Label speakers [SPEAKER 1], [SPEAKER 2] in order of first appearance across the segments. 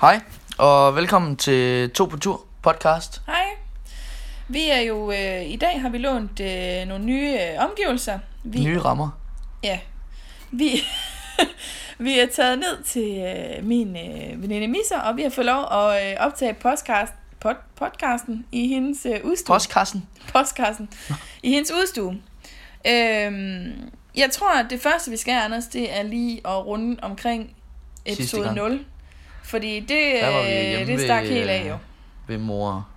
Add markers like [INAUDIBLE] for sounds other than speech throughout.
[SPEAKER 1] Hej, og velkommen til To på Tur podcast.
[SPEAKER 2] Hej. Vi er jo øh, i dag har vi lånt øh, nogle nye øh, omgivelser. Vi
[SPEAKER 1] Nye rammer.
[SPEAKER 2] ja. Vi [LAUGHS] vi er taget ned til øh, min øh, veninde Misser, og vi har fået lov at øh, optage podcast pod, podcasten i hendes øh, udstue.
[SPEAKER 1] Postkassen.
[SPEAKER 2] Postkassen. I hendes udstue. Øhm, jeg tror, at det første, vi skal, Anders, det er lige at runde omkring
[SPEAKER 1] Sidste
[SPEAKER 2] episode
[SPEAKER 1] gang.
[SPEAKER 2] 0. Fordi det,
[SPEAKER 1] Der var vi hjemme
[SPEAKER 2] øh, det stak
[SPEAKER 1] ved,
[SPEAKER 2] helt af
[SPEAKER 1] øh,
[SPEAKER 2] jo.
[SPEAKER 1] Ved mor.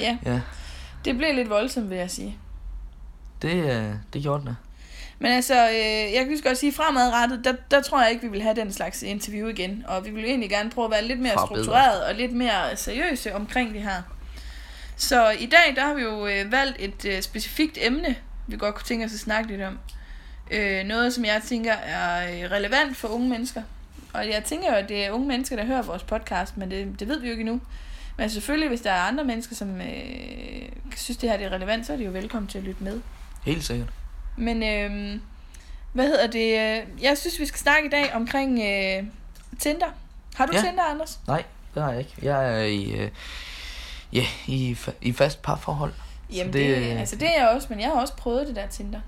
[SPEAKER 2] Ja.
[SPEAKER 1] Ja,
[SPEAKER 2] Det blev lidt voldsomt, vil jeg sige.
[SPEAKER 1] det, øh, det gjorde den. da.
[SPEAKER 2] Men altså, øh, jeg kan lige så godt sige, fremadrettet, der, der tror jeg ikke, vi vil have den slags interview igen. Og vi vil egentlig gerne prøve at være lidt mere
[SPEAKER 1] Fra bedre.
[SPEAKER 2] struktureret og lidt mere seriøse omkring det her. Så i dag, der har vi jo øh, valgt et øh, specifikt emne, vi godt kunne tænke os at snakke lidt om. Øh, noget, som jeg tænker er øh, relevant for unge mennesker. Og jeg tænker jo, at det er unge mennesker, der hører vores podcast, men det, det ved vi jo ikke endnu. Men selvfølgelig, hvis der er andre mennesker, som øh, synes, det her det er relevant, så er de jo velkommen til at lytte med.
[SPEAKER 1] Helt sikkert.
[SPEAKER 2] Men øhm, hvad hedder det? øh, Jeg synes, vi skal snakke i dag omkring øh, Tinder. Har du
[SPEAKER 1] Ja.
[SPEAKER 2] ja. Tinder, Anders?
[SPEAKER 1] Nej, det har jeg ikke. Jeg er i, øh, ja, i, fa- i fast parforhold.
[SPEAKER 2] Jamen,
[SPEAKER 1] Så
[SPEAKER 2] det,
[SPEAKER 1] det,
[SPEAKER 2] det,
[SPEAKER 1] øh,
[SPEAKER 2] altså, det er jeg også, men jeg har også prøvet det der Tinder.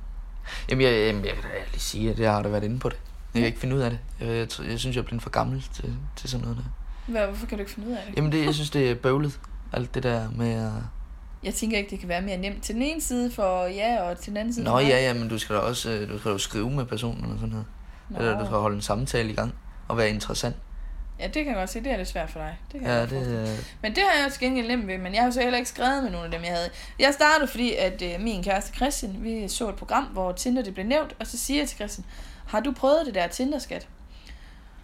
[SPEAKER 1] Jamen, jeg, jamen, jeg kan da lige sige, at jeg har da været inde på det. Jeg kan ikke finde ud af det. Jeg, jeg, tr- jeg synes, jeg er blevet for gammel til, til sådan noget der.
[SPEAKER 2] Hvad, hvorfor kan du ikke finde ud af det?
[SPEAKER 1] Jamen, det, jeg synes, det er bøvlet. Alt det der med... Øh,
[SPEAKER 2] Jeg tænker ikke, det kan være mere nemt til den ene side for ja, og til den anden side
[SPEAKER 1] Nå
[SPEAKER 2] for nej.
[SPEAKER 1] ja, ja, men du skal da også øh, du skal jo skrive med personen og sådan noget.
[SPEAKER 2] Nå.
[SPEAKER 1] Eller du skal holde en samtale i gang og være interessant.
[SPEAKER 2] Ja, det kan jeg godt se. Det er lidt svært for dig. Det kan jeg
[SPEAKER 1] Ja,
[SPEAKER 2] godt
[SPEAKER 1] det,
[SPEAKER 2] forestille
[SPEAKER 1] øh,
[SPEAKER 2] mig. Men det har jeg også gengæld nemt ved, men jeg har så heller ikke skrevet med nogen af dem, jeg havde. Jeg startede, fordi at øh, min kæreste Christian, vi så et program, hvor Tinder det blev nævnt, og så siger jeg til Christian, har du prøvet det der Tinder-skat?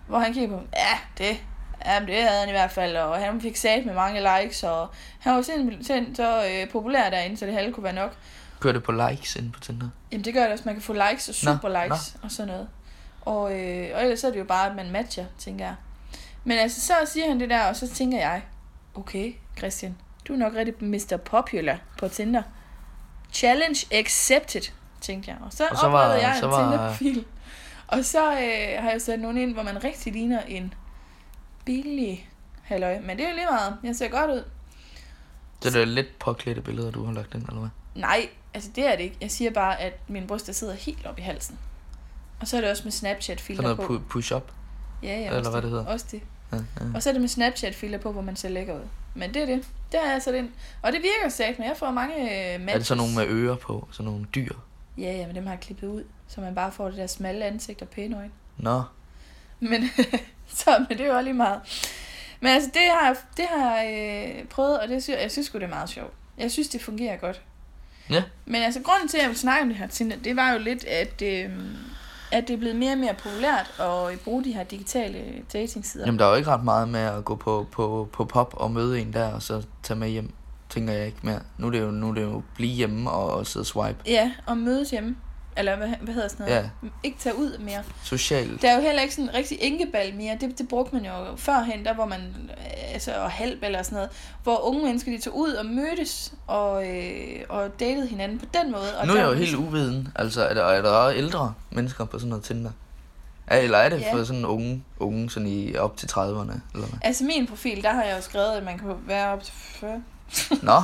[SPEAKER 2] Hvor han kigger på, ja, det, ja, det havde han i hvert fald, og han fik sat med mange likes, og han var simpelthen så øh, populær derinde, så det halve kunne være nok.
[SPEAKER 1] kører det på likes inde på Tinder.
[SPEAKER 2] Jamen det gør det også, man kan få likes og
[SPEAKER 1] Nå,
[SPEAKER 2] super likes og sådan noget. Og, øh, og ellers er det jo bare, at man matcher, tænker jeg. Men altså, så siger han det der, og så tænker jeg, okay, Christian, du er nok rigtig Mr. Popular på Tinder. Challenge accepted, tænkte jeg. Og så,
[SPEAKER 1] Og
[SPEAKER 2] og
[SPEAKER 1] så
[SPEAKER 2] så
[SPEAKER 1] var-
[SPEAKER 2] oprettede jeg en
[SPEAKER 1] så var-
[SPEAKER 2] Tinder-profil. Og så øh, har jeg sat nogen ind, hvor man rigtig ligner en billig halløj. Men det er jo lige meget. Jeg ser godt ud.
[SPEAKER 1] Så det er lidt påklædte billeder, du har lagt ind, eller hvad?
[SPEAKER 2] Nej, altså det er det ikke. Jeg siger bare, at mine bryster sidder helt op i halsen. Og så er det også med Snapchat-filter
[SPEAKER 1] Sådan
[SPEAKER 2] på.
[SPEAKER 1] noget pu- push-up.
[SPEAKER 2] ja, ja,
[SPEAKER 1] eller
[SPEAKER 2] også
[SPEAKER 1] hvad det hedder.
[SPEAKER 2] Også det.
[SPEAKER 1] Ja,
[SPEAKER 2] Og så er det med Snapchat-filter på, hvor man ser lækker ud. Men det er det. Der er jeg sat ind. Og det virker sagt, men jeg får mange øh, matches.
[SPEAKER 1] Er det sådan nogle med ører på? Sådan nogle dyr?
[SPEAKER 2] Ja, ja, men dem har jeg klippet ud. Så man bare får det der smalle ansigt og pæne øjne.
[SPEAKER 1] Nå,
[SPEAKER 2] Men, [LAUGHS] så, men det er jo også lige meget. Men altså, det har jeg, det har jeg øh, prøvet, og det synes, jeg synes sgu, det er meget sjovt. Jeg synes, det fungerer godt.
[SPEAKER 1] Ja.
[SPEAKER 2] Men altså, grunden til, at jeg ville snakke om det her Tinder, det var jo lidt, at, øh, at det er blevet mere og mere populært at øh, bruge de her digitale datingsider.
[SPEAKER 1] jamen der er jo ikke ret meget med at gå på, på, på pop og møde en der, og så tage med hjem, tænker jeg ikke mere. Nu er det jo, nu er det jo blive hjemme og, og sidde og swipe.
[SPEAKER 2] Ja, og mødes hjemme. Eller hvad, hvad hedder sådan noget? Ja. Ikke tage ud mere.
[SPEAKER 1] Socialt.
[SPEAKER 2] Der er jo heller ikke sådan en rigtig enkebal mere. Det, det brugte man jo førhen, der hvor man, øh, altså, og halv eller sådan noget, hvor unge mennesker, de tog ud og mødtes og, øh, og datede hinanden på den måde. Og
[SPEAKER 1] Nu er jeg
[SPEAKER 2] der-
[SPEAKER 1] jo helt uviden. Altså, er der, er der også ældre mennesker på sådan noget Tinder? Er- Eller er det
[SPEAKER 2] Ja.
[SPEAKER 1] for sådan unge, unge sådan i op til 30'erne? Eller
[SPEAKER 2] [LAUGHS]
[SPEAKER 1] hvad?
[SPEAKER 2] Altså min profil, der har jeg jo skrevet, at man kan være op til 40.
[SPEAKER 1] Nå,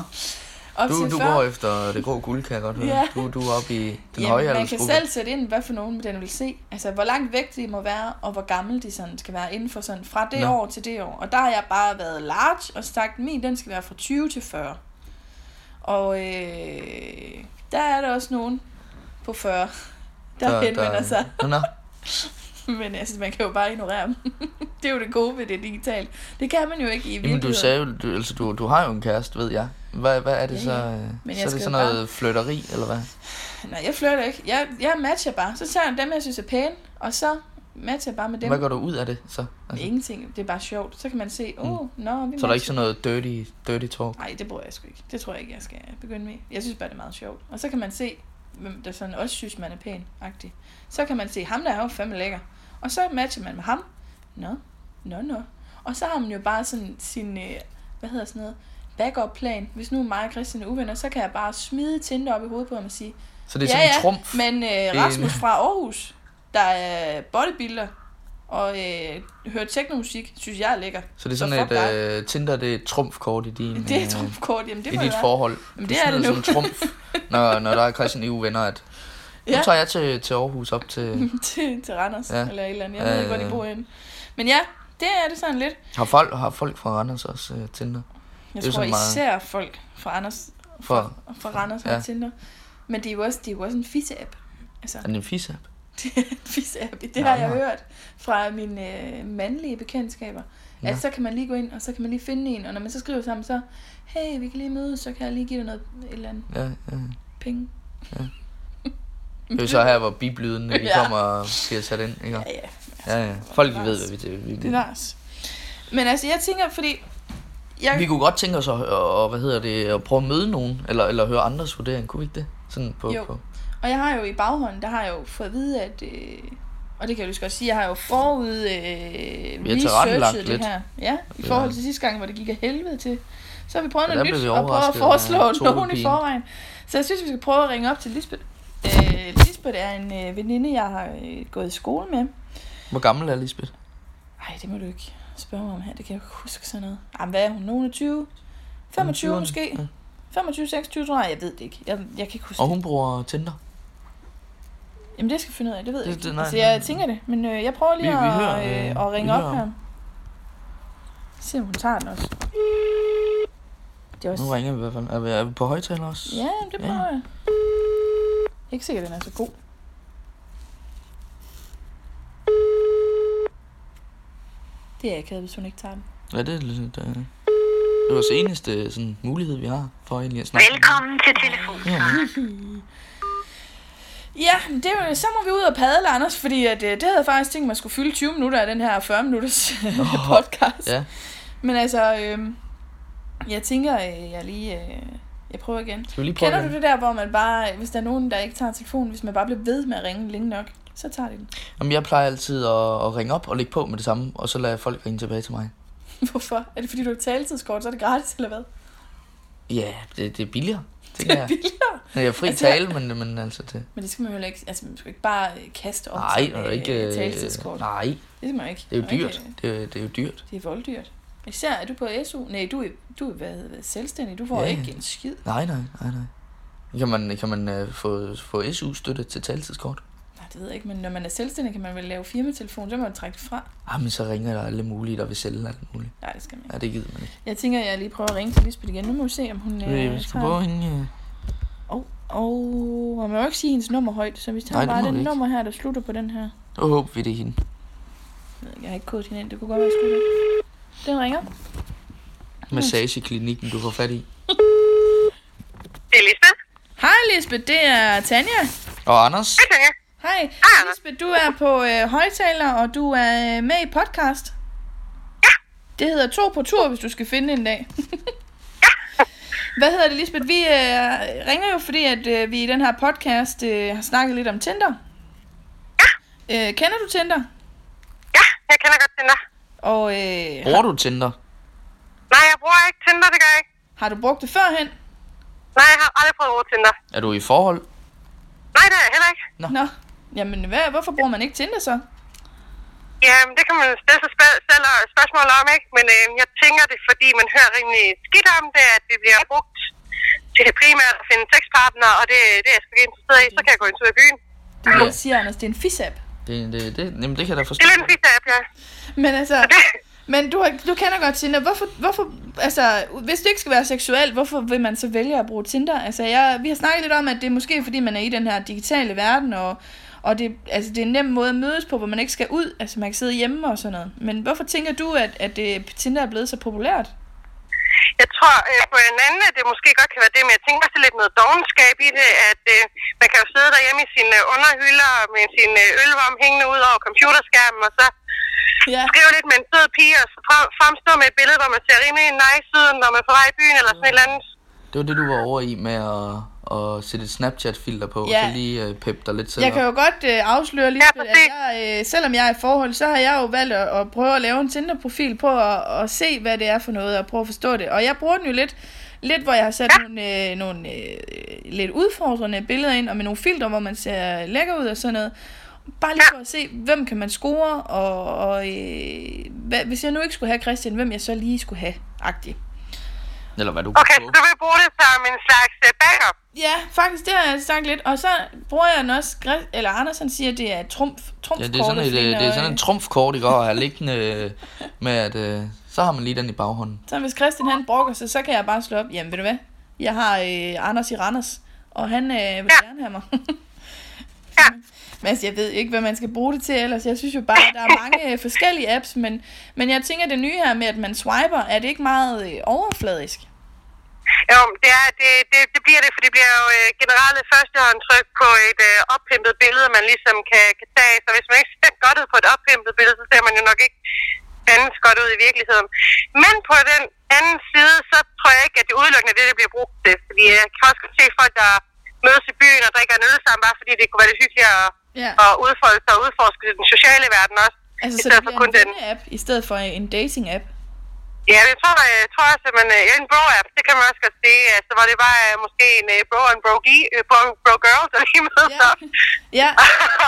[SPEAKER 2] Op
[SPEAKER 1] du,
[SPEAKER 2] til
[SPEAKER 1] du
[SPEAKER 2] 40.
[SPEAKER 1] går efter det grå guld, kan jeg godt høre.
[SPEAKER 2] Ja.
[SPEAKER 1] Du, du er oppe i den
[SPEAKER 2] Jamen,
[SPEAKER 1] høje
[SPEAKER 2] man kan
[SPEAKER 1] aldersgruppe.
[SPEAKER 2] selv sætte ind, hvad for nogen den vil se. Altså, hvor langt væk de må være, og hvor gammel de sådan skal være inden for sådan fra det
[SPEAKER 1] Nå.
[SPEAKER 2] Nå. år til det år. Og der har jeg bare været large og sagt, min den skal være fra 20 til 40. Og øh, der er der også nogen på 40, der, der henvender der... sig. [LAUGHS]
[SPEAKER 1] Nå, nå.
[SPEAKER 2] Men altså, man kan jo bare ignorere dem. [LAUGHS] det er jo det gode ved det digitalt. Det kan man jo ikke i
[SPEAKER 1] Jamen, du
[SPEAKER 2] virkeligheden.
[SPEAKER 1] sagde jo, du, altså, du, du har jo en kæreste, ved jeg. Hvad, hvad er det
[SPEAKER 2] Ja,
[SPEAKER 1] så?
[SPEAKER 2] ja.
[SPEAKER 1] øh,
[SPEAKER 2] Men
[SPEAKER 1] så
[SPEAKER 2] jeg
[SPEAKER 1] er det
[SPEAKER 2] skal
[SPEAKER 1] sådan
[SPEAKER 2] jo
[SPEAKER 1] noget fløtteri, eller hvad?
[SPEAKER 2] Nej, jeg flytter ikke. Jeg, jeg matcher bare. Så tager jeg dem, jeg synes er pæne, og så matcher jeg bare med dem.
[SPEAKER 1] Hvad går du ud af det så? Altså, Mm.
[SPEAKER 2] Ingenting. Det er bare sjovt. Så kan man se, åh, oh, nå, vi
[SPEAKER 1] så er der ikke sådan noget dirty, dirty talk?
[SPEAKER 2] Nej, det bruger jeg sgu ikke. Det tror jeg ikke, jeg skal begynde med. Jeg synes bare, det er meget sjovt. Og så kan man se, hvem der sådan også synes, man er pæn -agtig. Så kan man se, ham der er jo fandme lækker. Og så matcher man med ham. Nå, nå, nå. Og så har man jo bare sådan sin, øh, hvad hedder sådan noget, backup plan. Hvis nu mig og Christian er uvenner, så kan jeg bare smide Tinder op i hovedet på ham og sige,
[SPEAKER 1] Så det er sådan en trumf?
[SPEAKER 2] men øh,
[SPEAKER 1] er
[SPEAKER 2] Rasmus
[SPEAKER 1] en-
[SPEAKER 2] fra Aarhus, der er bodybuilder, og øh, høre teknomusik, synes jeg er lækker.
[SPEAKER 1] Så det er
[SPEAKER 2] Så
[SPEAKER 1] sådan,
[SPEAKER 2] fuck
[SPEAKER 1] at uh, Tinder, det er et trumfkort i din...
[SPEAKER 2] Det er et
[SPEAKER 1] øh,
[SPEAKER 2] trumfkort, jamen det
[SPEAKER 1] i
[SPEAKER 2] må
[SPEAKER 1] dit
[SPEAKER 2] det være.
[SPEAKER 1] forhold.
[SPEAKER 2] Jamen,
[SPEAKER 1] Du
[SPEAKER 2] det er det
[SPEAKER 1] smider
[SPEAKER 2] nu.
[SPEAKER 1] Som trumf, når, når der er Christian EU venner, at nu
[SPEAKER 2] Ja.
[SPEAKER 1] tager jeg til, til Aarhus op
[SPEAKER 2] [LAUGHS]
[SPEAKER 1] til...
[SPEAKER 2] [LAUGHS] til, til Randers ja.
[SPEAKER 1] Ja.
[SPEAKER 2] eller et eller andet. Jeg
[SPEAKER 1] Ja,
[SPEAKER 2] ved
[SPEAKER 1] ja,
[SPEAKER 2] ikke, hvor de
[SPEAKER 1] ja.
[SPEAKER 2] bor henne. Men ja, det er det sådan lidt.
[SPEAKER 1] Har folk, har folk fra Randers også uh, Tinder?
[SPEAKER 2] Jeg
[SPEAKER 1] Det er
[SPEAKER 2] tror
[SPEAKER 1] sådan meget-
[SPEAKER 2] især folk fra Anders
[SPEAKER 1] For
[SPEAKER 2] fra Randers
[SPEAKER 1] Ja.
[SPEAKER 2] har Tinder. Men det er jo også, det er jo også en fisse-app. Altså,
[SPEAKER 1] er det en fisse
[SPEAKER 2] [LAUGHS] det er en fisse-app. Det har
[SPEAKER 1] Nå,
[SPEAKER 2] jeg
[SPEAKER 1] nå.
[SPEAKER 2] hørt fra mine øh, mandlige bekendtskaber.
[SPEAKER 1] Nå.
[SPEAKER 2] At så kan man lige gå ind, og så kan man lige finde en. Og når man så skriver sammen, så... Hey, vi kan lige mødes, så kan jeg lige give dig noget, et eller andet
[SPEAKER 1] Ja, ja.
[SPEAKER 2] penge.
[SPEAKER 1] Det er jo så her, hvor biblyden de
[SPEAKER 2] Ja.
[SPEAKER 1] kommer og bliver sat ind, ikke?
[SPEAKER 2] Ja, ja.
[SPEAKER 1] Ja, ja. Folk de ved, hvad vi, det, vi,
[SPEAKER 2] Det er Lars. Men altså, jeg tænker, fordi... Jeg,
[SPEAKER 1] Vi kunne godt tænke os at, og, hvad hedder det, at prøve at møde nogen, eller, eller høre andres vurdering, kunne vi ikke det? Sådan på,
[SPEAKER 2] Jo.
[SPEAKER 1] på.
[SPEAKER 2] Og jeg har jo i baghånden, der har jeg jo fået at vide, at... Øh, og det kan jeg jo lige så godt sige, jeg har jo forud øh,
[SPEAKER 1] tilrettelagt
[SPEAKER 2] researchet det
[SPEAKER 1] lidt.
[SPEAKER 2] her. Ja, i
[SPEAKER 1] Ja.
[SPEAKER 2] forhold til sidste gang, hvor det gik af helvede til. Så har vi prøvet
[SPEAKER 1] Ja,
[SPEAKER 2] noget
[SPEAKER 1] der blev
[SPEAKER 2] nyt,
[SPEAKER 1] vi
[SPEAKER 2] og prøvet at
[SPEAKER 1] overrasket af
[SPEAKER 2] foreslå nogen i
[SPEAKER 1] Totepigen.
[SPEAKER 2] forvejen. Så jeg synes, vi skal prøve at ringe op til Lisbeth. Øh, Lisbeth er en øh, veninde, jeg har øh, gået i skole med.
[SPEAKER 1] Hvor gammel er Lisbeth?
[SPEAKER 2] Nej, det må du ikke spørge mig om her. Det kan jeg jo ikke huske sådan noget. Jamen, hvad er hun? Nogen 20? 25
[SPEAKER 1] 20'erne.
[SPEAKER 2] måske?
[SPEAKER 1] Ja.
[SPEAKER 2] 25, 26, tror jeg. Jeg ved det ikke. Jeg, jeg kan ikke huske
[SPEAKER 1] Og
[SPEAKER 2] det.
[SPEAKER 1] hun bruger Tinder.
[SPEAKER 2] Jamen det skal jeg finde ud af, det ved jeg
[SPEAKER 1] Det-
[SPEAKER 2] ikke.
[SPEAKER 1] det- nej,
[SPEAKER 2] altså,
[SPEAKER 1] nej,
[SPEAKER 2] jeg
[SPEAKER 1] nej.
[SPEAKER 2] tænker det, men øh, jeg prøver lige
[SPEAKER 1] Vi- vi
[SPEAKER 2] at,
[SPEAKER 1] hører,
[SPEAKER 2] øh,
[SPEAKER 1] øh,
[SPEAKER 2] at ringe
[SPEAKER 1] vi
[SPEAKER 2] op
[SPEAKER 1] hører.
[SPEAKER 2] her. Se om hun tager den også. Det er
[SPEAKER 1] Nu
[SPEAKER 2] også...
[SPEAKER 1] ringer vi i hvert fald. Er vi, er vi på højtaler også?
[SPEAKER 2] Ja, det
[SPEAKER 1] Ja.
[SPEAKER 2] prøver jeg. Jeg er Ikke sikkert, den er så god. Det er akavet, hvis hun ikke tager den.
[SPEAKER 1] Ja, det er lidt... Øh, det er vores eneste sådan, mulighed, vi har for egentlig at snakke.
[SPEAKER 3] Velkommen til telefon.
[SPEAKER 1] Ja,
[SPEAKER 2] Ja, men det er jo, så må vi ud og padle, Anders, fordi at, øh, det havde jeg faktisk tænkt mig at skulle fylde 20 minutter af den her 40 minutters øh,
[SPEAKER 1] Nå,
[SPEAKER 2] podcast.
[SPEAKER 1] ja.
[SPEAKER 2] Men altså, øh, jeg tænker, øh, jeg lige... Øh, jeg prøver igen.
[SPEAKER 1] Skal vi lige prøve
[SPEAKER 2] Kender du det der, hvor man bare, hvis der er nogen, der ikke tager telefonen, hvis man bare bliver ved med at ringe længe nok, så tager de den. [LAUGHS]
[SPEAKER 1] Jamen, jeg plejer altid at, at ringe op og lægge på med det samme, og så lader folk ringe tilbage til mig.
[SPEAKER 2] Hvorfor? Er det fordi, du har taletidskort, så er det gratis, eller hvad?
[SPEAKER 1] Ja, det, det er billigere, tænker
[SPEAKER 2] [LAUGHS] Det er
[SPEAKER 1] jeg.
[SPEAKER 2] billigere.
[SPEAKER 1] Jeg er fri
[SPEAKER 2] Altså, jeg-
[SPEAKER 1] tale, men, men altså det...
[SPEAKER 2] Men det skal man jo heller ikke, altså man skal jo ikke bare øh, kaste op
[SPEAKER 1] Nej,
[SPEAKER 2] som,
[SPEAKER 1] og
[SPEAKER 2] øh,
[SPEAKER 1] ikke... øh,
[SPEAKER 2] taletidskort.
[SPEAKER 1] Nej,
[SPEAKER 2] Det skal man jo ikke.
[SPEAKER 1] det er jo
[SPEAKER 2] Man må
[SPEAKER 1] dyrt.
[SPEAKER 2] Ikke, øh,
[SPEAKER 1] Det er, det er jo dyrt.
[SPEAKER 2] det er volddyrt. Især er du på SU? Nej, du er, du er hvad, hvad, selvstændig. Du får
[SPEAKER 1] Ja,
[SPEAKER 2] ja.
[SPEAKER 1] ja.
[SPEAKER 2] ikke en skid.
[SPEAKER 1] Nej, nej, nej, nej. Kan man, kan man øh, få, få SU-støtte til taletidskort?
[SPEAKER 2] Nej, det ved jeg ikke, men når man er selvstændig, kan man vel lave firmatelefon, så må man trække det fra.
[SPEAKER 1] Ah, men så ringer der alle mulige, der vil sælge alt muligt.
[SPEAKER 2] Nej, det skal man ikke.
[SPEAKER 1] Ja, det gider man ikke.
[SPEAKER 2] Jeg tænker, jeg lige prøver at ringe til Lisbeth igen. Nu må vi se, om hun...
[SPEAKER 1] Ja, vi skal
[SPEAKER 2] tager-
[SPEAKER 1] prøve hende... øh,
[SPEAKER 2] Og, og man må jo ikke sige hendes nummer højt, så vi tager
[SPEAKER 1] Nej,
[SPEAKER 2] Nej,
[SPEAKER 1] det må
[SPEAKER 2] bare
[SPEAKER 1] vi
[SPEAKER 2] den
[SPEAKER 1] ikke.
[SPEAKER 2] nummer her, der slutter på den her.
[SPEAKER 1] Nu håber vi, det er hende.
[SPEAKER 2] Jeg ved ikke, Jeg har ikke kodet hende ind, det kunne godt være, jeg skulle det. Den ringer.
[SPEAKER 1] Massageklinikken, du får fat i.
[SPEAKER 3] Det er Lisbeth.
[SPEAKER 2] Hej Lisbeth, det er Tanja.
[SPEAKER 1] Og Anders,
[SPEAKER 3] Hej, Tanja.
[SPEAKER 2] Hej.
[SPEAKER 3] Hej.
[SPEAKER 2] Lisbeth, du er på øh, højtaler, og du er øh, med i podcast.
[SPEAKER 3] Ja.
[SPEAKER 2] Det hedder To på tur, hvis du skal finde en dag. [LAUGHS] Hvad hedder det, Lisbeth? Vi øh, ringer jo, fordi at øh, vi i den her podcast øh, har snakket lidt om Tinder. Ja. Øh, kender du Tinder?
[SPEAKER 3] Ja, jeg kender godt Tinder.
[SPEAKER 2] Og øh,
[SPEAKER 1] bruger du Tinder?
[SPEAKER 3] Nej, jeg bruger ikke Tinder, det gør jeg ikke.
[SPEAKER 2] har du brugt det førhen?
[SPEAKER 3] Nej, jeg har aldrig prøvet at bruge Tinder.
[SPEAKER 1] Er du i forhold?
[SPEAKER 3] Nej, det er jeg heller ikke.
[SPEAKER 2] Nå, jamen hvad, hvorfor bruger man ikke Tinder så?
[SPEAKER 3] Jamen, det kan man stille sig spæ- selv og- spørgsmål om, ikke? Men øh, jeg tænker det, er, fordi man hører rimelig skidt om det, at det bliver brugt til primært at finde sexpartner, og det, det er jeg sgu ikke interesseret i. Så kan jeg gå en tur i byen.
[SPEAKER 2] Det er det,
[SPEAKER 1] Ja.
[SPEAKER 2] jeg siger, Anders, det er en fis-app.
[SPEAKER 1] Det, det, det, jamen, det kan jeg da
[SPEAKER 3] Det
[SPEAKER 1] forstå.
[SPEAKER 3] er lidt en fisk, ja.
[SPEAKER 2] Men altså,
[SPEAKER 3] Det,
[SPEAKER 2] men du, har, ikke- du kender godt Tinder. Hvorfor, hvorfor, altså, hvis det ikke skal være seksuelt, hvorfor vil man så vælge at bruge Tinder? Altså, jeg, vi har snakket lidt om, at det er måske fordi, man er i den her digitale verden, og, og det, altså, det er en nem måde at mødes på, hvor man ikke skal ud. Altså, man kan sidde hjemme og sådan noget. Men hvorfor tænker du, at, at det, Tinder er blevet så populært?
[SPEAKER 3] Jeg tror øh, på en anden, at det måske godt kan være det, men jeg tænker også, det er lidt noget dogenskab i det, at øh, man kan jo sidde derhjemme i sine øh, underhylder med sin øh, ølvarm hængende ud over computerskærmen, og så
[SPEAKER 2] Ja,
[SPEAKER 3] skrive lidt med en sød pige, og så frem, fremstå med et billede, hvor man ser rimelig nice ud, når man er på vej i byen, eller sådan et eller andet.
[SPEAKER 1] Det var det, du var over i med at, at sætte et Snapchat-filter på,
[SPEAKER 2] Ja.
[SPEAKER 1] ja. så lige uh, pep dig lidt selv
[SPEAKER 2] Jeg kan
[SPEAKER 1] op.
[SPEAKER 2] jo godt øh, afsløre lige, ja, at
[SPEAKER 3] præcis.
[SPEAKER 2] jeg, øh, selvom jeg er i forhold, så har jeg jo valgt at, at prøve at lave en Tinder-profil på at, at se, hvad det er for noget, og prøve at forstå det. Og jeg bruger den jo lidt, lidt hvor jeg har sat ja. nogle, øh, nogle øh, lidt udfordrende billeder ind, og med nogle filtre, hvor man ser lækker ud og sådan noget. Bare lige for at se, hvem kan man score, og, og øh, hvad, hvis jeg nu ikke skulle have Christian, hvem jeg så lige skulle have, agtig.
[SPEAKER 1] Eller hvad du kan
[SPEAKER 3] Okay, så
[SPEAKER 1] få.
[SPEAKER 3] du vil bruge det som en slags øh, backup.
[SPEAKER 2] Ja, faktisk, det har jeg sagt lidt. Og så bruger jeg den også, Gre- eller Andersen siger, at det er trumf,
[SPEAKER 1] Ja,
[SPEAKER 2] trumfkortet.
[SPEAKER 1] det er sådan et,
[SPEAKER 2] fordi
[SPEAKER 1] øh,
[SPEAKER 2] når,
[SPEAKER 1] det er sådan et
[SPEAKER 2] øh,
[SPEAKER 1] trumfkort,
[SPEAKER 2] [LAUGHS]
[SPEAKER 1] ikke? Og have liggende øh, med, at øh, så har man lige den i baghånden.
[SPEAKER 2] Så hvis Christian han brokker sig, så kan jeg bare slå op. Jamen, ved du hvad? Jeg har øh, Anders i Randers, og han øh, vil gerne have mig.
[SPEAKER 3] Ja.
[SPEAKER 2] [LAUGHS] Men altså, jeg ved jo ikke, hvad man skal bruge det til ellers. Jeg synes jo bare, at der er mange øh, forskellige apps, men, men jeg tænker, at det nye her med, at man swiper, er det ikke meget øh, overfladisk?
[SPEAKER 3] Jo, det, er, det, det, det bliver det, for det bliver jo øh, generelt førstehåndtryk på et øh, oppimpet billede, man ligesom kan, kan tage. Så hvis man ikke ser godt ud på et oppimpet billede, så ser man jo nok ikke andet godt ud i virkeligheden. Men på den anden side, så tror jeg ikke, at det udelukkende er det, der bliver brugt til. Fordi øh, jeg kan også godt se folk, der mødes i byen og drikker en øl sammen, bare fordi det kunne være lidt hyggeligt at,
[SPEAKER 2] Ja.
[SPEAKER 3] at udfolde sig og udforske den sociale verden også.
[SPEAKER 2] Altså,
[SPEAKER 3] i
[SPEAKER 2] så
[SPEAKER 3] stedet
[SPEAKER 2] det
[SPEAKER 3] for
[SPEAKER 2] bliver
[SPEAKER 3] kun
[SPEAKER 2] en
[SPEAKER 3] den.
[SPEAKER 2] venneapp, i stedet for en dating-app.
[SPEAKER 3] Ja, det tror jeg, tror jeg simpelthen. øh, En bro-app, det kan man også godt sige. Altså, hvor det bare er måske en øh, bro og en bro-girl, øh, bro, bro girl, der lige mødes
[SPEAKER 2] Ja.
[SPEAKER 3] op
[SPEAKER 2] ja,
[SPEAKER 3] [LAUGHS]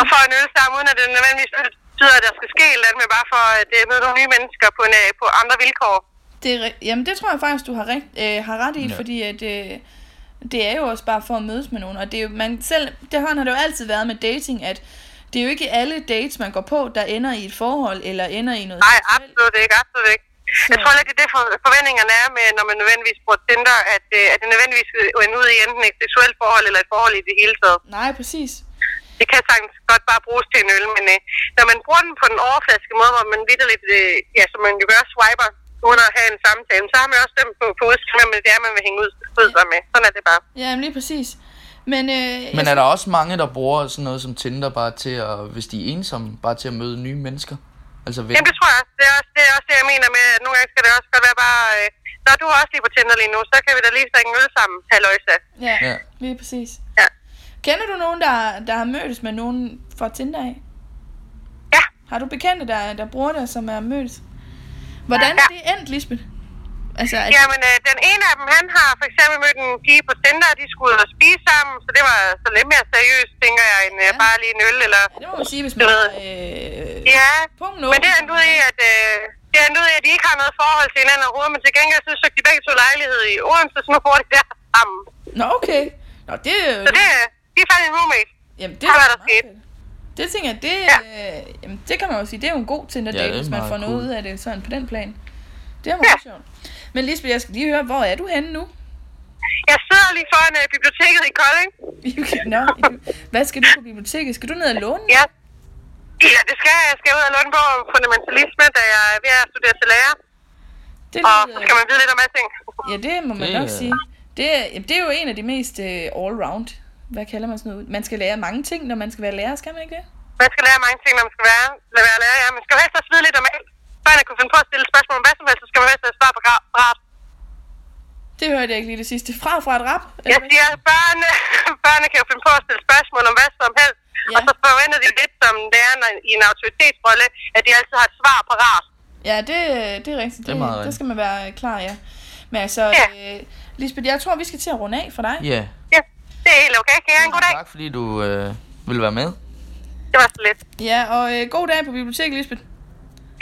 [SPEAKER 3] og får en øl sammen, uden at det nødvendigvis betyder, at der skal ske et eller andet, men bare for at øh, møde nogle nye mennesker på, en, øh, på andre vilkår.
[SPEAKER 2] Det, er ri- jamen, det tror jeg faktisk, du har, rigt, øh, har ret i,
[SPEAKER 1] Ja.
[SPEAKER 2] ja. fordi at, øh, det er jo også bare for at mødes med nogen. Og det er jo, man selv, det har det jo altid været med dating, at det er jo ikke alle dates, man går på, der ender i et forhold, eller ender i noget
[SPEAKER 3] Nej,
[SPEAKER 2] seksuelt.
[SPEAKER 3] absolut ikke, absolut ikke. Jeg tror heller ikke, det er det for, forventningerne er med, når man nødvendigvis bruger Tinder, at, øh, at det nødvendigvis ender ud i enten et seksuelt forhold eller et forhold i det hele taget.
[SPEAKER 2] Nej, præcis.
[SPEAKER 3] det kan sagtens godt bare bruges til en øl, men øh, når man bruger den på den overfladiske måde, hvor man vidderligt, øh, ja, som man jo gør, swiper, uden at have en samtale, så har man også stemt på, på udskilt, hvem det er, man vil hænge ud, ud sig med. Sådan er det bare.
[SPEAKER 2] Ja, jamen, lige præcis. Men, øh,
[SPEAKER 1] Men er der også mange, der bruger sådan noget som Tinder bare til at, hvis de er ensomme, bare til at møde nye mennesker? Altså venner?
[SPEAKER 3] Jamen, det tror jeg også. Det er også det, er også det jeg mener med, at nogle gange skal det også godt være bare, øh, når du er også lige på Tinder lige nu, så kan vi da lige drikke en øl sammen, halløjsa.
[SPEAKER 2] ja,
[SPEAKER 1] Ja.
[SPEAKER 2] ja, lige præcis.
[SPEAKER 3] Ja.
[SPEAKER 2] Kender du nogen, der, der har mødtes med nogen fra Tinder af?
[SPEAKER 3] Ja.
[SPEAKER 2] Har du bekendte, der, der bruger det, som er mødtes? Hvordan er det endt, Lisbeth? Altså, er
[SPEAKER 3] Jamen, øh, den ene af dem, han har for eksempel mødt en pige på Tinder, og de skulle ud og spise sammen, så det var så lidt mere seriøst, tænker jeg, end øh,
[SPEAKER 2] Ja.
[SPEAKER 3] bare lige en øl eller...
[SPEAKER 2] Ja, det må man sige, hvis
[SPEAKER 3] Du
[SPEAKER 2] man
[SPEAKER 3] ved.
[SPEAKER 2] har øh,
[SPEAKER 3] Ja,
[SPEAKER 2] punkt
[SPEAKER 3] Men det er endnu i, at, øh, det er endnu i, at de ikke har noget forhold til hinanden overhovedet, men til gengæld så søgte de begge to lejlighed i Odense, så nu bor de der sammen.
[SPEAKER 2] Nå, okay. Nå, det er jo...
[SPEAKER 3] Så det, øh, de er faktisk en roommate.
[SPEAKER 2] Jamen, det
[SPEAKER 3] Har
[SPEAKER 2] er
[SPEAKER 3] været
[SPEAKER 2] meget
[SPEAKER 3] der sket.
[SPEAKER 2] fedt. Det tænker jeg, det, øh, jamen, det kan man jo sige, det er jo en god Tinder
[SPEAKER 1] Ja,
[SPEAKER 2] date,
[SPEAKER 1] det er
[SPEAKER 2] hvis man
[SPEAKER 1] meget
[SPEAKER 2] får noget
[SPEAKER 1] cool.
[SPEAKER 2] ud af det sådan på den plan. Det er meget
[SPEAKER 3] Ja.
[SPEAKER 2] sjovt. Men Lisbeth, jeg skal lige høre, hvor er du henne nu? [LAUGHS]
[SPEAKER 3] Jeg sidder lige foran øh, biblioteket i Kolding.
[SPEAKER 2] Nå, hvad skal du på biblioteket? Skal du ned og låne?
[SPEAKER 3] Ja. Ja, det skal jeg. Jeg skal ud og låne bog om fundamentalisme, da jeg er ved at studere til lærer.
[SPEAKER 2] Det
[SPEAKER 3] Og
[SPEAKER 2] lyder,
[SPEAKER 3] så skal man vide lidt om alting.
[SPEAKER 2] ja, det må man
[SPEAKER 1] Det
[SPEAKER 2] nok
[SPEAKER 1] er-
[SPEAKER 2] sige. Det er, jamen, det er jo en af de mest øh, all-round. Hvad kalder man sådan noget? Man skal lære mange ting, når man skal være lærer, skal man ikke det?
[SPEAKER 3] Man skal lære mange ting, når man skal være, lade være lærer. Ja, man skal jo helst også vide lidt om alt. Før man kunne finde på at stille spørgsmål om hvad som helst, så skal man helst have svar på gra- rart.
[SPEAKER 2] Det hørte jeg ikke lige det sidste. Fra fra et rap? eller
[SPEAKER 3] Jeg
[SPEAKER 2] hvad?
[SPEAKER 3] siger, at børnene, [LAUGHS] børnene kan jo finde på at stille spørgsmål om hvad som helst, ja.
[SPEAKER 2] Ja.
[SPEAKER 3] og så forventer de lidt som lærerne i en autoritetsrolle, at de altid har et svar parat.
[SPEAKER 2] Ja, det, det er rigtigt. Det,
[SPEAKER 1] Det er meget
[SPEAKER 2] det,
[SPEAKER 1] rigtigt.
[SPEAKER 2] det skal man være klar, ja. Men altså,
[SPEAKER 3] Ja.
[SPEAKER 2] ja. øh, Lisbeth, jeg tror, vi skal til at runde af for dig.
[SPEAKER 1] Ja.
[SPEAKER 3] Ja, det er helt okay. Kan I have en god dag?
[SPEAKER 1] Tak fordi du øh, ville være med.
[SPEAKER 3] Det var så lidt. [LAUGHS]
[SPEAKER 2] Ja, og øh, god dag på biblioteket, Lisbeth.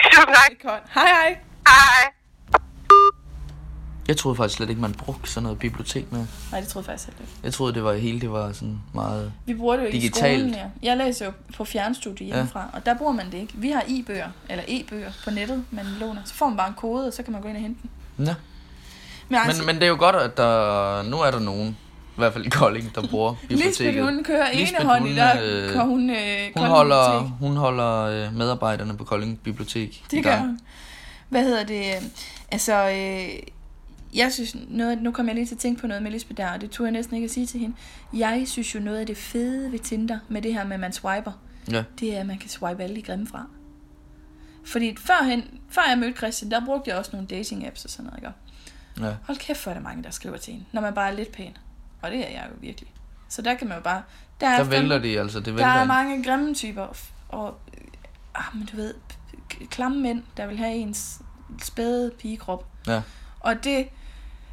[SPEAKER 3] Tusind tak.
[SPEAKER 2] Godt. Hej, hej.
[SPEAKER 3] Hej.
[SPEAKER 1] Jeg troede faktisk slet ikke, man brugte sådan noget bibliotek med.
[SPEAKER 2] Nej, det troede jeg faktisk heller ikke.
[SPEAKER 1] Jeg troede, det var hele, det var sådan meget...
[SPEAKER 2] Vi bruger det jo ikke i
[SPEAKER 1] Digitalt.
[SPEAKER 2] skolen mere. Jeg læser jo på fjernstudie hjemmefra, ja. og der bruger man det ikke. Vi har e-bøger, eller e-bøger på nettet, man låner. Så får man bare en kode, og så kan man gå ind og hente den.
[SPEAKER 1] Ja.
[SPEAKER 2] Men altså,
[SPEAKER 1] Men, men det er jo godt, at der, nu er der nogen, i hvert fald i Kolding, der bruger biblioteket.
[SPEAKER 2] [LAUGHS] Lisbeth, hun kører
[SPEAKER 1] Lisbeth,
[SPEAKER 2] enehåndigt,
[SPEAKER 1] hun,
[SPEAKER 2] der
[SPEAKER 1] øh,
[SPEAKER 2] øh, hun, øh,
[SPEAKER 1] Hun holder, hun holder øh, medarbejderne på Kolding Bibliotek i
[SPEAKER 2] Det gør
[SPEAKER 1] gang.
[SPEAKER 2] hun. Hvad hedder det? øh, Altså, øh, jeg synes noget, nu kom jeg lige til at tænke på noget med Lisbeth der, og det turde jeg næsten ikke at sige til hende. Jeg synes jo noget af det fede ved Tinder, med det her med, at man swiper,
[SPEAKER 1] Ja.
[SPEAKER 2] det er, at man kan swipe alle de grimme fra. Fordi førhen, før jeg mødte Christian, der brugte jeg også nogle dating apps og sådan noget, ikke?
[SPEAKER 1] Ja.
[SPEAKER 2] Hold kæft, hvor er der mange, der skriver til en, når man bare er lidt pæn. Og det er jeg jo virkelig. Så der kan man jo bare... Der, er
[SPEAKER 1] Der
[SPEAKER 2] fandme-
[SPEAKER 1] vælter de altså, det
[SPEAKER 2] der
[SPEAKER 1] vælter.
[SPEAKER 2] er
[SPEAKER 1] ind.
[SPEAKER 2] mange grimme typer, f- og øh, ah, men du ved, p- k- klamme mænd, der vil have ens spæde pigekrop.
[SPEAKER 1] Ja.
[SPEAKER 2] Og det,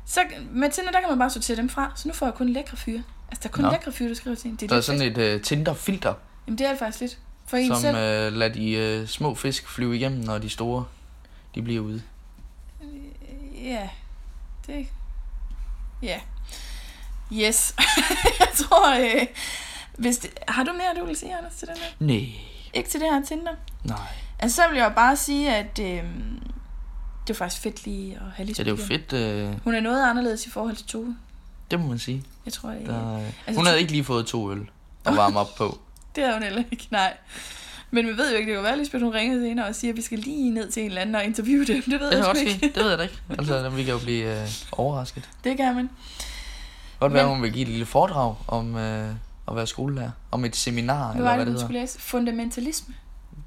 [SPEAKER 2] så med Tinder, der kan man bare sortere dem fra, så nu får jeg kun lækre fyre. Altså, der er kun
[SPEAKER 1] Nå.
[SPEAKER 2] lækre fyre, der skriver til en. Det er
[SPEAKER 1] Der er
[SPEAKER 2] lidt
[SPEAKER 1] sådan
[SPEAKER 2] fedt.
[SPEAKER 1] et uh, Tinder-filter.
[SPEAKER 2] Jamen, det er det faktisk lidt. For en
[SPEAKER 1] som
[SPEAKER 2] selv.
[SPEAKER 1] øh, lader de øh, små fisk flyve igennem, når de store de bliver ude. øh,
[SPEAKER 2] Ja, det... Ja. Yes. [LAUGHS] jeg tror, øh, hvis det... Har du mere, du vil sige, Anders, til den her?
[SPEAKER 1] Nej,
[SPEAKER 2] Ikke til det her Tinder?
[SPEAKER 1] nej.
[SPEAKER 2] Altså, så vil jeg jo bare sige, at øh, det er faktisk fedt lige at have lige
[SPEAKER 1] Ja, det er jo
[SPEAKER 2] igen.
[SPEAKER 1] fedt, øh,
[SPEAKER 2] Hun er noget anderledes i forhold til Tove.
[SPEAKER 1] det må man sige.
[SPEAKER 2] Jeg tror, jeg...
[SPEAKER 1] Der, øh,
[SPEAKER 2] Altså,
[SPEAKER 1] hun
[SPEAKER 2] to-
[SPEAKER 1] havde ikke lige fået to øl at varme op
[SPEAKER 2] [LAUGHS]
[SPEAKER 1] på.
[SPEAKER 2] Det havde hun heller ikke, nej. Men vi ved jo ikke, det kan jo være, Lisbeth, hun ringede senere og siger, at vi skal lige ned til en eller anden og interviewe dem. Det ved
[SPEAKER 1] Det
[SPEAKER 2] jeg
[SPEAKER 1] kan
[SPEAKER 2] sgu
[SPEAKER 1] også
[SPEAKER 2] ikke.
[SPEAKER 1] ske. Det ved jeg da ikke. Altså, vi kan jo blive øh, overrasket.
[SPEAKER 2] Det kan man.
[SPEAKER 1] Godt være,
[SPEAKER 2] Men-
[SPEAKER 1] hun vil give et lille foredrag om øh, at være skolelærer. Om et seminar,
[SPEAKER 2] Hvad
[SPEAKER 1] eller
[SPEAKER 2] var
[SPEAKER 1] hvad det
[SPEAKER 2] det, hun
[SPEAKER 1] hedder.
[SPEAKER 2] skulle læse? Fundamentalisme.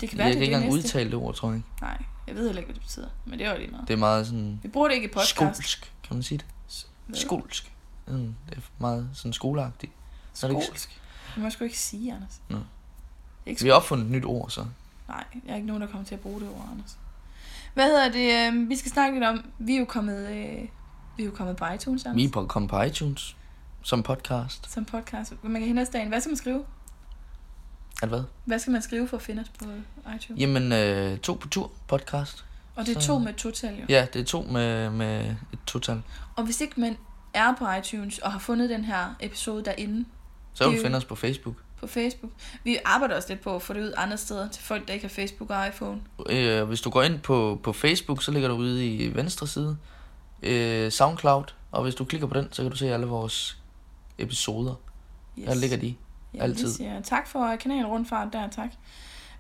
[SPEAKER 2] Det kan være,
[SPEAKER 1] Jeg
[SPEAKER 2] det
[SPEAKER 1] kan
[SPEAKER 2] er
[SPEAKER 1] ikke
[SPEAKER 2] det
[SPEAKER 1] engang
[SPEAKER 2] næste.
[SPEAKER 1] udtale det ord, tror jeg.
[SPEAKER 2] Nej, jeg ved heller ikke, hvad det betyder. Men det var lige meget.
[SPEAKER 1] Det er meget sådan
[SPEAKER 2] Vi bruger det ikke i podcast.
[SPEAKER 1] skolsk, kan man sige det?
[SPEAKER 2] Hvad?
[SPEAKER 1] Skolsk. Sådan, Mm, det er meget sådan skoleagtigt. Er det ikke-
[SPEAKER 2] Skolsk. Det må jeg sgu ikke sige, Anders.
[SPEAKER 1] Nå.
[SPEAKER 2] Ikke
[SPEAKER 1] Vi har opfundet et nyt ord, så.
[SPEAKER 2] Nej, jeg er ikke nogen, der kommer til at bruge det ord, Anders. Hvad hedder det? øhm, Vi skal snakke lidt om, vi er jo kommet, øh, vi er jo kommet på iTunes, Anders.
[SPEAKER 1] Vi er på, kom på iTunes som podcast.
[SPEAKER 2] Som podcast. Man kan hente os dagen. Hvad skal man skrive?
[SPEAKER 1] At hvad?
[SPEAKER 2] Hvad skal man skrive for at finde os på iTunes?
[SPEAKER 1] Jamen, øh, to på tur podcast.
[SPEAKER 2] Og det er
[SPEAKER 1] så-
[SPEAKER 2] to med total, jo.
[SPEAKER 1] Ja, det er to med, med et total.
[SPEAKER 2] Og hvis ikke man er på iTunes og har fundet den her episode derinde
[SPEAKER 1] Så vil
[SPEAKER 2] Det er
[SPEAKER 1] du
[SPEAKER 2] jo-
[SPEAKER 1] finde os på Facebook.
[SPEAKER 2] på Facebook. Vi arbejder også lidt på at få det ud andre steder til folk, der ikke har Facebook og iPhone.
[SPEAKER 1] Øh, hvis du går ind på, på Facebook, så ligger der ude i venstre side øh, Soundcloud. Og hvis du klikker på den, så kan du se alle vores episoder.
[SPEAKER 2] Yes.
[SPEAKER 1] Der ligger de.
[SPEAKER 2] Ja,
[SPEAKER 1] Altid.
[SPEAKER 2] Vi siger tak for kanalrundfart der, tak.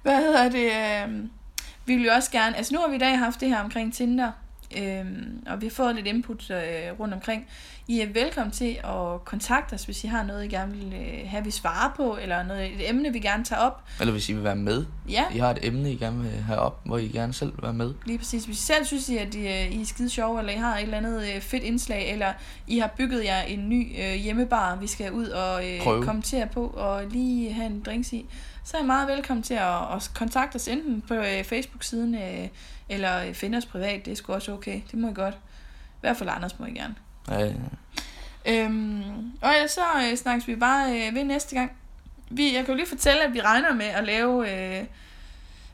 [SPEAKER 2] Hvad hedder det? øhm, Vi vil jo også gerne... Altså nu har vi i dag haft det her omkring Tinder, øhm, og vi har fået lidt input øh, rundt omkring. I er velkommen til at kontakte os, hvis I har noget, I gerne vil øh, have, vi svarer på, eller noget, et emne, vi gerne tager op.
[SPEAKER 1] Eller hvis I vil være med.
[SPEAKER 2] Ja,
[SPEAKER 1] I har et emne, I gerne vil have op, hvor I gerne selv vil være med.
[SPEAKER 2] lige præcis. Hvis I selv synes, I, at I, øh, I er skide sjove, eller I har et eller andet øh, fedt indslag, eller I har bygget jer en ny øh, hjemmebar, vi skal ud og øh,
[SPEAKER 1] Prøve.
[SPEAKER 2] kommentere på, og lige have en drinks i, så er I meget velkommen til at, at kontakte os enten på øh, Facebook-siden, øh, eller finde os privat. Det er sgu også okay. Det må I godt. I hvert fald Anders må I gerne.
[SPEAKER 1] Øh,
[SPEAKER 2] Øhm, og ellers så øh, snakkes vi bare øh, ved næste gang. Vi, jeg kan jo lige fortælle, at vi regner med at lave... Øh,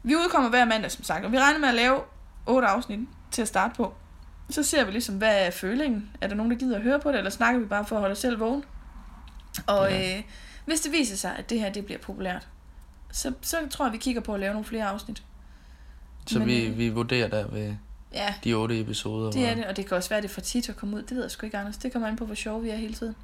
[SPEAKER 2] vi udkommer hver mandag, som sagt, og vi regner med at lave otte afsnit til at starte på. Så ser vi ligesom, hvad er følingen? Er der nogen, der gider at høre på det, eller snakker vi bare for at holde os selv vågen? Og
[SPEAKER 1] Ja.
[SPEAKER 2] øh, hvis det viser sig, at det her det bliver populært, så, så tror jeg, vi kigger på at lave nogle flere afsnit.
[SPEAKER 1] så
[SPEAKER 2] Men,
[SPEAKER 1] vi,
[SPEAKER 2] øh,
[SPEAKER 1] vi vurderer der ved
[SPEAKER 2] Ja,
[SPEAKER 1] de otte episoder.
[SPEAKER 2] det
[SPEAKER 1] hvor-
[SPEAKER 2] er det, og det kan også være, at det er for tit at komme ud. Det ved jeg sgu ikke, Anders. Det kommer an på, hvor sjove vi er hele tiden.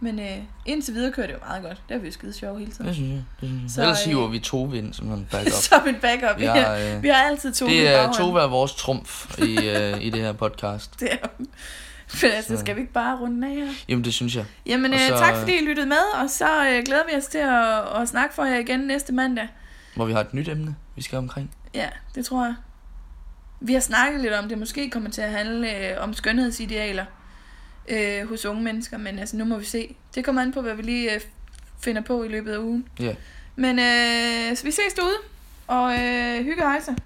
[SPEAKER 2] Men øh, indtil videre kører det jo meget godt. Der er vi jo skide sjove hele tiden.
[SPEAKER 1] Det synes jeg. Det synes jeg.
[SPEAKER 2] Så,
[SPEAKER 1] Så, Ellers
[SPEAKER 2] øh,
[SPEAKER 1] hiver vi Tove ind som
[SPEAKER 2] [LAUGHS]
[SPEAKER 1] en backup.
[SPEAKER 2] Som en backup.
[SPEAKER 1] Ja,
[SPEAKER 2] Ja,
[SPEAKER 1] øh,
[SPEAKER 2] vi har altid to
[SPEAKER 1] det er Tove er vores trumf i, øh, i det her podcast.
[SPEAKER 2] [LAUGHS] Det er, men altså,
[SPEAKER 1] Så-
[SPEAKER 2] skal vi ikke bare runde af her?
[SPEAKER 1] Jamen, det synes jeg.
[SPEAKER 2] Jamen,
[SPEAKER 1] Og
[SPEAKER 2] så...
[SPEAKER 1] så-
[SPEAKER 2] øh, tak fordi I lyttede med, og så øh, glæder vi os til at, at snakke for jer igen næste mandag.
[SPEAKER 1] Hvor vi har et nyt emne, vi skal omkring.
[SPEAKER 2] Ja, det tror jeg. Vi har snakket lidt om det. Måske kommer til at handle øh, om skønhedsidealer øh, hos unge mennesker, men altså, nu må vi se. Det kommer an på, hvad vi lige øh, finder på i løbet af ugen.
[SPEAKER 1] Ja.
[SPEAKER 2] Men øh, så vi ses derude, og øh, hygge og hejse.